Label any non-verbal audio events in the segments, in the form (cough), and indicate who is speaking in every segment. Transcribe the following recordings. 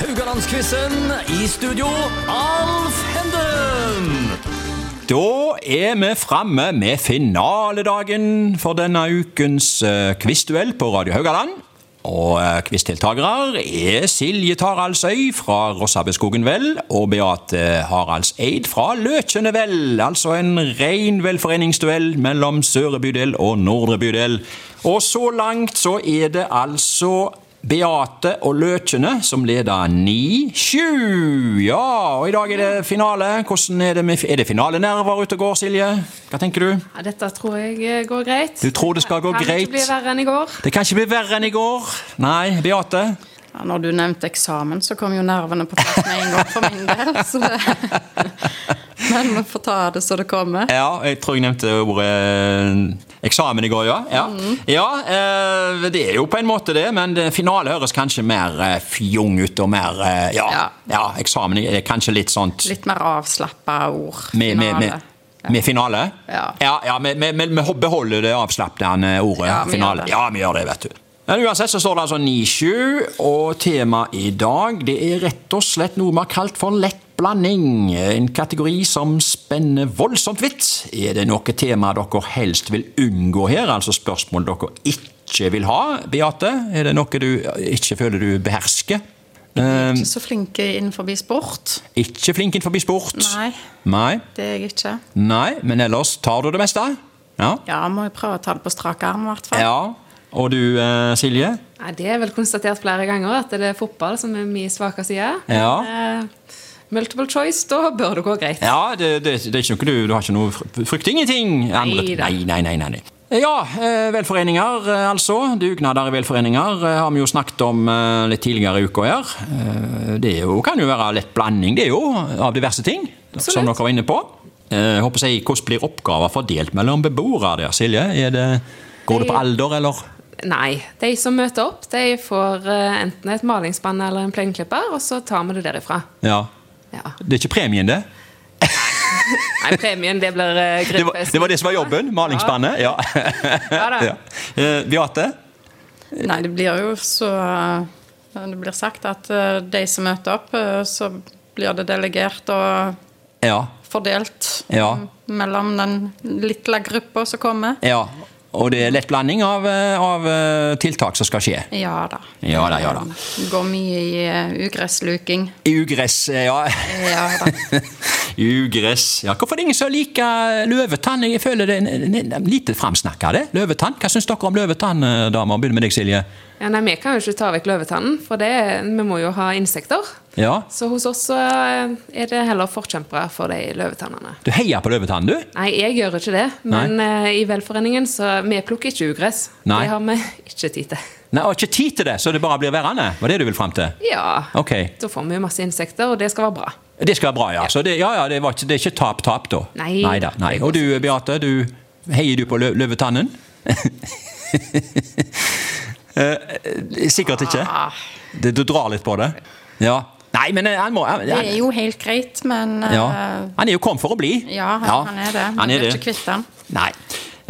Speaker 1: Rogalandsquizen. I studio, Alf Henden.
Speaker 2: Da er vi framme med finaledagen for denne ukens eh, quizduell på Radio Haugaland. Og eh, quizdeltakere er Silje Taraldsøy fra Rossabøskogen Vel og Beate Haraldseid fra Løkjene Vel. Altså en ren velforeningsduell mellom Søre bydel og Nordre bydel. Og så langt så er det altså Beate og Løkjene, som leder 9-7. Ja, og i dag er det finale. Hvordan er det med, er det finalenerver ute og går, Silje? Hva tenker du?
Speaker 3: Ja, dette tror jeg eh, går greit.
Speaker 2: Du tror det skal gå
Speaker 3: Kan ikke
Speaker 2: greit?
Speaker 3: bli verre enn i går.
Speaker 2: Det kan ikke bli verre enn i går. Nei, Beate?
Speaker 3: Ja, når du nevnte eksamen, så kom jo nervene på plass med en gang for min del. Så det. (laughs) Men vi får ta det så det kommer.
Speaker 2: Ja, jeg tror jeg nevnte ordet eh, eksamen i går, ja. Ja,
Speaker 3: Mhm.
Speaker 2: ja eh, det er jo på en måte det, men det- finale høres kanskje mer eh, fjong ut og mer eh, Ja,
Speaker 3: Ja.
Speaker 2: ja eksamen er kanskje litt sånt
Speaker 3: Litt mer avslappa ord.
Speaker 2: Med, med, med, med finale?
Speaker 3: Ja.
Speaker 2: ja, ja men men- men vi beholder det avslappende ordet
Speaker 3: Ja, vi
Speaker 2: finale.
Speaker 3: gjør det.
Speaker 2: Ja, vi gjør det, vet du. Men uansett så står det altså 9-7, og temaet i dag det er rett og slett noe vi har kalt for lett blanding. En kategori som spenner voldsomt vidt. Er det noe tema dere helst vil unngå her, altså spørsmål dere ikke vil ha, Beate? Er det noe du ikke føler du behersker?
Speaker 3: Jeg er ikke så flink innenfor sport.
Speaker 2: Eh, Ikke flink innenfor sport?
Speaker 3: Nei.
Speaker 2: Nei.
Speaker 3: Det er jeg ikke.
Speaker 2: Nei, men ellers tar du det meste? Ja.
Speaker 3: Ja, må jo prøve å ta det på strak arm, i hvert fall.
Speaker 2: ja. Og du, eh, Silje?
Speaker 4: Nei, det er vel konstatert flere ganger at det er fotball som er min svake side.
Speaker 2: Ja.
Speaker 4: Eh, multiple choice, da bør det gå greit.
Speaker 2: Ja, det, det, det er ikke noe du, du har ikke noe fr- Frykt ingenting? Andre,
Speaker 4: Nei da.
Speaker 2: nei, nei, nei, nei, nei. Ja, eh, velforeninger, eh, altså. Dugnader i velforeninger eh, har vi jo snakket om eh, litt tidligere i uka her. Eh, Det er jo, kan jo være lett blanding, det er jo, av diverse ting. Som dere var inne på. Eh, håper jeg, Hvordan blir oppgaver fordelt mellom beboere der, Silje? Er det, går det på alder, eller?
Speaker 4: Nei. De som møter opp, de får eh, enten et malingsspann eller en plenklipper, og så tar vi det derifra.
Speaker 2: Ja.
Speaker 4: Ja.
Speaker 2: Det er ikke premien, det?
Speaker 4: Nei, premien, det blir eh,
Speaker 2: Det var,
Speaker 4: gruppefest.
Speaker 2: det var det som var jobben? Malingsspannet? Ja.
Speaker 4: Ja da.
Speaker 2: (laughs) ja. Eh, Beate?
Speaker 3: Nei, det blir jo så Det blir sagt at eh, de som møter opp, eh, så blir det delegert og
Speaker 2: Ja.
Speaker 3: fordelt
Speaker 2: Ja.
Speaker 3: mm, mellom den lille gruppa som kommer.
Speaker 2: ja. Og det er lett blanding av, eh, av eh, tiltak som skal skje.
Speaker 3: Ja da.
Speaker 2: Ja da, ja da.
Speaker 3: Går mye i eh, ugressluking.
Speaker 2: Ugress, eh, ja.
Speaker 3: Ja da.
Speaker 2: (laughs) Ugress. Ja, hvorfor er det ingen som liker eh, løvetann? Jeg føler det er en- en- en lite framsnakka, det. Løvetann. Hva syns dere om løvetann, eh, damer? Begynner med deg, Silje.
Speaker 4: Ja, nei, vi kan jo ikke ta vekk løvetannen, for det, vi må jo ha insekter.
Speaker 2: Ja.
Speaker 4: Så hos oss så eh, er det heller forkjempere for de løvetannene.
Speaker 2: Du heier på løvetann, du?
Speaker 4: Nei, jeg gjør ikke det, men eh, i velforeningen så Vi plukker ikke ugress.
Speaker 2: Nei.
Speaker 4: Det har vi ikke tid til.
Speaker 2: Nei, og Ikke tid til det, så det bare blir værende? Var det du vil fram til?
Speaker 4: Ja.
Speaker 2: Ok.
Speaker 4: Da får vi jo masse insekter, og det skal være bra.
Speaker 2: Det skal være bra, ja. Så det, ja, ja, det, var ikke, det er ikke tap-tap, da.
Speaker 4: Nei.
Speaker 2: Neida, nei. Og du, Beate, du, heier du på lø løvetannen? (laughs) Eh, Sikkert ikke.
Speaker 3: Ah.
Speaker 2: Det, du drar litt på det? Ja. Nei, men eh, han må han,
Speaker 3: Det
Speaker 2: han,
Speaker 3: er jo helt greit, men eh,
Speaker 2: ja. han er jo kommet for å bli.
Speaker 3: ja, han, han er det.
Speaker 2: Han
Speaker 3: Vi
Speaker 2: er
Speaker 3: blir
Speaker 2: det.
Speaker 3: ikke kvitt han.
Speaker 2: Nei.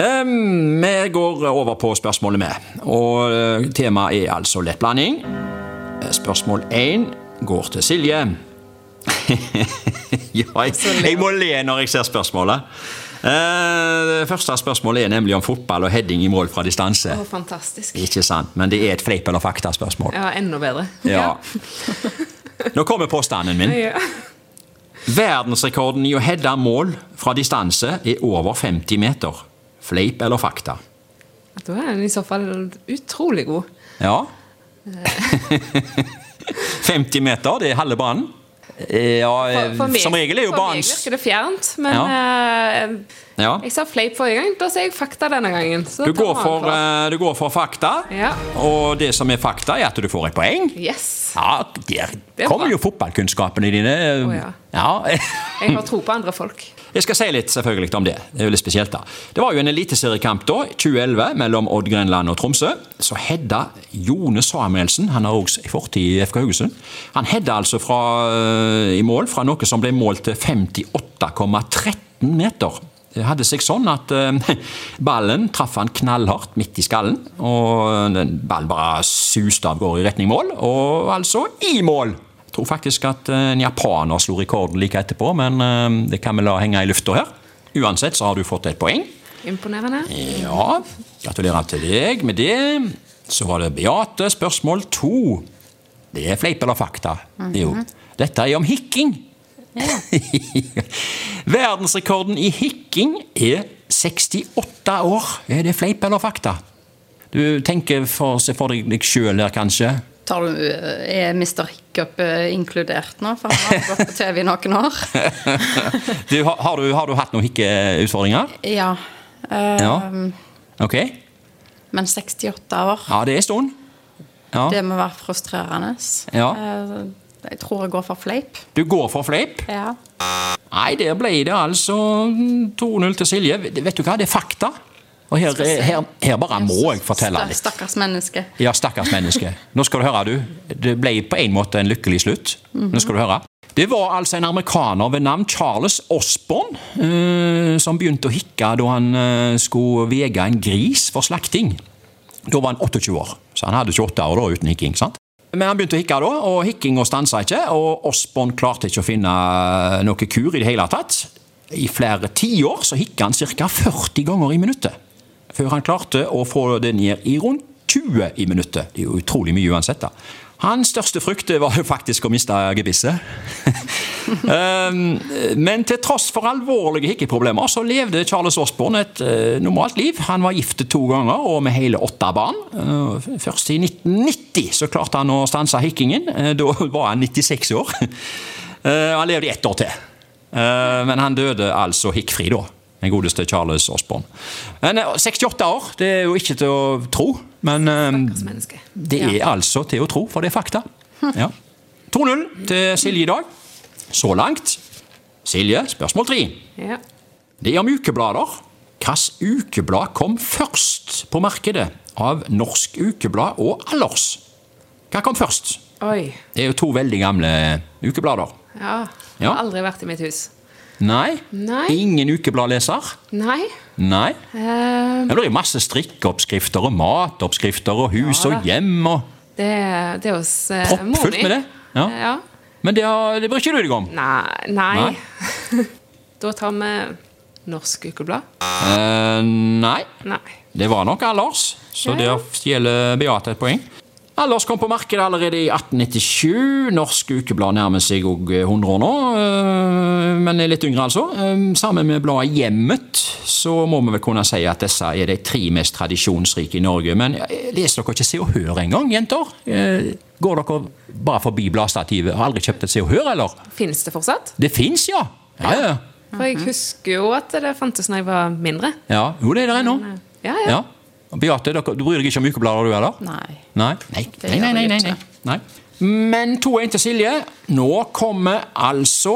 Speaker 2: Ehm, vi går over på spørsmålet med. Og eh, temaet er altså lettblanding. Eh, Spørsmål én går til Silje. (laughs) ja, jeg, jeg må le når jeg ser spørsmålet. Eh, det første spørsmålet er nemlig om fotball og heading i mål fra distanse.
Speaker 4: Å, fantastisk.
Speaker 2: Ikke sant, men det er et fleip eller fakta-spørsmål.
Speaker 4: Ja, enda bedre.
Speaker 2: Ja. (laughs) Nå kommer påstanden min.
Speaker 4: Ja.
Speaker 2: Verdensrekorden i å heade mål fra distanse er over 50 meter. Fleip eller fakta?
Speaker 4: Da er den i så fall utrolig god.
Speaker 2: Ja. (laughs) 50 meter, det er halve banen. Eh, Ja, eh,
Speaker 4: For meg-
Speaker 2: som regel er jo
Speaker 4: for meg
Speaker 2: banen
Speaker 4: virker det fjernt, men eh,
Speaker 2: Ja.
Speaker 4: jeg sa fleip forrige gang. Da sier jeg fakta denne gangen. Så
Speaker 2: du
Speaker 4: tar
Speaker 2: går,
Speaker 4: vi den
Speaker 2: for,
Speaker 4: på.
Speaker 2: eh, du går for fakta,
Speaker 4: Ja.
Speaker 2: og det som er fakta, er at du får et poeng.
Speaker 4: Yes.
Speaker 2: Ja, der
Speaker 4: Det er
Speaker 2: kommer
Speaker 4: bra.
Speaker 2: jo fotballkunnskapene dine.
Speaker 4: Å, ja.
Speaker 2: ja. (laughs)
Speaker 4: Jeg har tro på andre folk.
Speaker 2: Jeg skal si litt selvfølgelig om det. Det er jo litt spesielt da. Det var jo en eliteseriekamp da, 2011, mellom Odd Grenland og Tromsø. Så hedda Jone Samuelsen, han har også fortid i FK Haugesund, han hedda altså fra, øh, i mål fra noe som ble målt til 58,13 meter. Det hadde seg sånn at øh, ballen traff han knallhardt midt i skallen, og den ballen bare suste av gårde i retning mål, og altså i mål. tror faktisk at eh, en japaner slo rekorden like etterpå, men eh, det kan vi la henge i lufta her. Uansett så har du fått et poeng.
Speaker 4: Imponerende.
Speaker 2: Ja, gratulerer til deg med det. Så var det Beate, spørsmål to. Det er fleip eller fakta. Jo. Dette er om hikking. (laughs) Verdensrekorden i hikking er 68 år. Er det fleip eller fakta? Du tenker for, se for deg, deg sjøl der, kanskje.
Speaker 3: Tar du, er Mr. Hiccup eh, inkludert nå? For han har
Speaker 2: (laughs)
Speaker 3: vært på TV i noen år.
Speaker 2: Du, har, har, du, har du hatt noen hikkeutfordringer?
Speaker 3: Ja. eh,
Speaker 2: Ja. Ok.
Speaker 3: Men 68 år,
Speaker 2: Ja, det er en stund. Ja.
Speaker 3: det må være frustrerende.
Speaker 2: Ja.
Speaker 3: Eh, Jeg tror jeg går for fleip.
Speaker 2: Du går for fleip.
Speaker 3: Ja.
Speaker 2: Nei, der ble det altså 2-0 til Silje. Vet du hva, det er fakta. Og her,
Speaker 3: Skal vi se.
Speaker 2: her, her bare må jeg fortelle litt.
Speaker 3: Stakkars menneske.
Speaker 2: Ja, stakkars menneske. Nå skal du høre, du. Det ble på en måte en lykkelig slutt. Nå skal du høre. Det var altså en amerikaner ved navn Charles Osborne eh, som begynte å hikke da han eh, skulle vege en gris for slakting. Da var han 28 år, så han hadde 28 år da uten hikking. sant? Men han begynte å hikke da, og hikkinga stansa ikke. Og Osborne klarte ikke å finne eh, noe kur i det hele tatt. I flere tiår så hikka han ca. 40 ganger i minuttet. Før han klarte å få det ned i rundt 20 i minuttet. Det er jo utrolig mye uansett, da. Hans største frykt det var jo faktisk å miste gebisset. Um, Men til tross for alvorlige hikkeproblemer så levde Charles Osborne et eh, normalt liv. Han var gift to ganger og med hele åtte barn. Eh, Først i 1990 så klarte han å stanse hikkingen. Eh, Da var han 96 år. (laughs) Eh, Han levde i ett år til. Eh, Men han døde altså hikkfri da. Den godeste Charles Osborne. Men eh, 68 år, det er jo ikke til å tro. Men eh,
Speaker 4: Som menneske.
Speaker 2: det er altså til å tro, for det er fakta. Ja. 2-0 til Silje i dag. Så langt. Silje, spørsmål tre.
Speaker 4: Ja.
Speaker 2: Det er om ukeblader. Hvilket ukeblad kom først på markedet av Norsk Ukeblad og Allers? Hva kom først?
Speaker 4: Oi.
Speaker 2: Det er jo to veldig gamle ukeblader.
Speaker 4: Ja. Jeg
Speaker 2: Ja.
Speaker 4: har aldri vært i mitt hus.
Speaker 2: Nei. Hm.
Speaker 4: Nei.
Speaker 2: Ingen ukebladleser?
Speaker 4: Nei.
Speaker 2: Nei.
Speaker 4: Eh,
Speaker 2: Men det er jo masse strikkeoppskrifter og matoppskrifter og hus
Speaker 4: Ja da.
Speaker 2: og hjem og
Speaker 4: det, det er hos uh,
Speaker 2: Proppfullt med det. Eh, Ja.
Speaker 4: Eh, ja.
Speaker 2: Men det, har- det bryr ikke du deg om?
Speaker 4: Nei. nei. (laughs) da tar vi Norsk Ukeblad.
Speaker 2: Eh, nei.
Speaker 4: Nei.
Speaker 2: Det var nok Allers, så
Speaker 4: Ja, ja.
Speaker 2: der stjeler Beate et poeng. Allers kom på markedet allerede i 1897. Norsk ukeblad nærmer seg òg 100 år nå, øh, men er litt yngre, altså. Ehm, Sammen med bladet Hjemmet så må vi vel kunne si at disse er de tre mest tradisjonsrike i Norge. Men eh, leser dere ikke Se og Hør engang, jenter? Eh, Går dere bare forbi bladstativet? Har aldri kjøpt et Se og Hør, eller?
Speaker 4: Finnes det fortsatt?
Speaker 2: Det fins, ja! Ja, ja.
Speaker 4: For jeg husker jo at det fantes da jeg var mindre.
Speaker 2: ja. Jo, det er der ennå.
Speaker 4: Ja, ja.
Speaker 2: Ja. Beate, dere, du bryr deg ikke om ukeblader, du, eller?
Speaker 3: Nei.
Speaker 2: Nei. Nei,
Speaker 3: Det
Speaker 2: nei,
Speaker 3: gjør
Speaker 2: nei.
Speaker 3: jeg
Speaker 2: nei, nei.
Speaker 3: ikke.
Speaker 2: nei. Men 2-1 til Silje. Nå kommer altså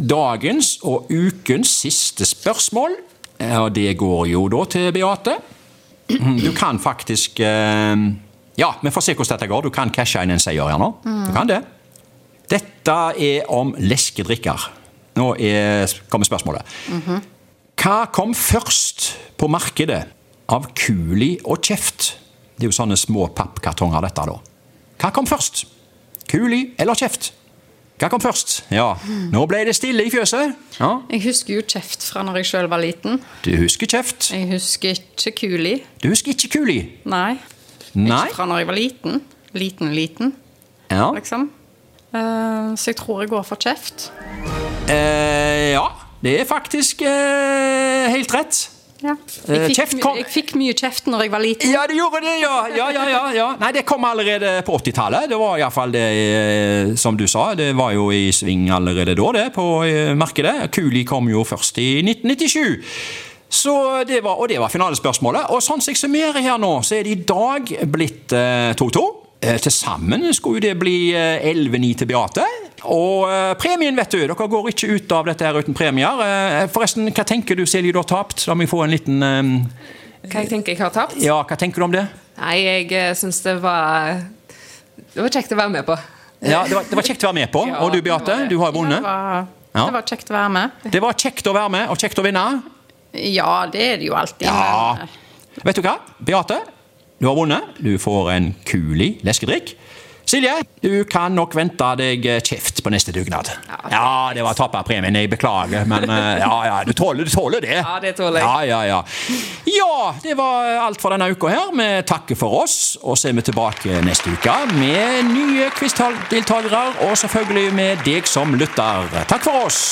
Speaker 2: dagens og ukens siste spørsmål. Eh, Og det går jo da til Beate. Du kan faktisk eh, Ja, vi får se hvordan dette går. Du kan cashe inn en seier her nå. Du kan det. Dette er om leskedrikker. Nå er, kommer spørsmålet. Hva kom først på markedet av kuli og kjeft? Det er jo sånne små pappkartonger, dette, da. Hva kom først? Kuli eller kjeft? Hva kom først? Ja, nå ble det stille i fjøset. Ja.
Speaker 3: Jeg husker jo kjeft fra når jeg sjøl var liten.
Speaker 2: Du husker kjeft.
Speaker 3: Jeg husker ikke kuli.
Speaker 2: Du husker ikke kuli.
Speaker 3: Nei.
Speaker 2: Nei.
Speaker 3: Ikke fra når jeg var liten. Liten, liten,
Speaker 2: Ja.
Speaker 3: liksom. Eh, så jeg tror jeg går for kjeft.
Speaker 2: Eh, ja, det er faktisk eh, helt rett.
Speaker 3: Ja.
Speaker 2: Eh,
Speaker 3: Jeg, fikk,
Speaker 2: kjeft kom-
Speaker 3: my- jeg fikk mye kjeft når jeg var liten.
Speaker 2: Ja, det gjorde det, ja! ja, ja, ja, ja. Nei, det kom allerede på 80-tallet. Det var iallfall det eh, som du sa. Det var jo i sving allerede da, det, på eh, markedet. Kuli kom jo først i 1997. Så det var, og det var finalespørsmålet. Og sånn som jeg summerer her nå, så er det i dag blitt eh, 2-2. Eh, Til sammen skulle jo det bli eh, 11-9 til Beate. Og eh, premien, vet du. Dere går ikke ut av dette her uten premier. Eh, Forresten, hva tenker du, Silje, du har tapt? La meg få en liten eh,
Speaker 4: Hva jeg tenker jeg har tapt?
Speaker 2: Ja, hva tenker du om det?
Speaker 4: Nei, jeg syns det var Det var kjekt å være med på.
Speaker 2: Ja, det var, det var kjekt å være med på.
Speaker 4: Ja,
Speaker 2: og du
Speaker 4: det var
Speaker 2: Beate,
Speaker 4: det.
Speaker 2: du har
Speaker 3: Det
Speaker 2: vunnet.
Speaker 3: var,
Speaker 2: Ja.
Speaker 3: det var kjekt å være med.
Speaker 2: Det var kjekt å være med og kjekt å vinne.
Speaker 3: Ja, det er det jo alltid. Eh,
Speaker 2: Ja.
Speaker 3: men-
Speaker 2: Vet du hva? Beate, du har vunnet. Du får en kuli leskedrikk. Silje, du kan nok vente deg eh, kjeft på neste dugnad.
Speaker 4: Ja, det-
Speaker 2: Ja, det var tapperpremien. Jeg beklager, men eh, ja, ja, du tåler, du tåler det.
Speaker 4: Ja, det tåler jeg.
Speaker 2: Ja, ja, ja. ja, det var alt for denne uka her. Vi takker for oss, og så er vi tilbake neste uke med nye quizdeltakere, og selvfølgelig med deg som lytter. Takk for oss.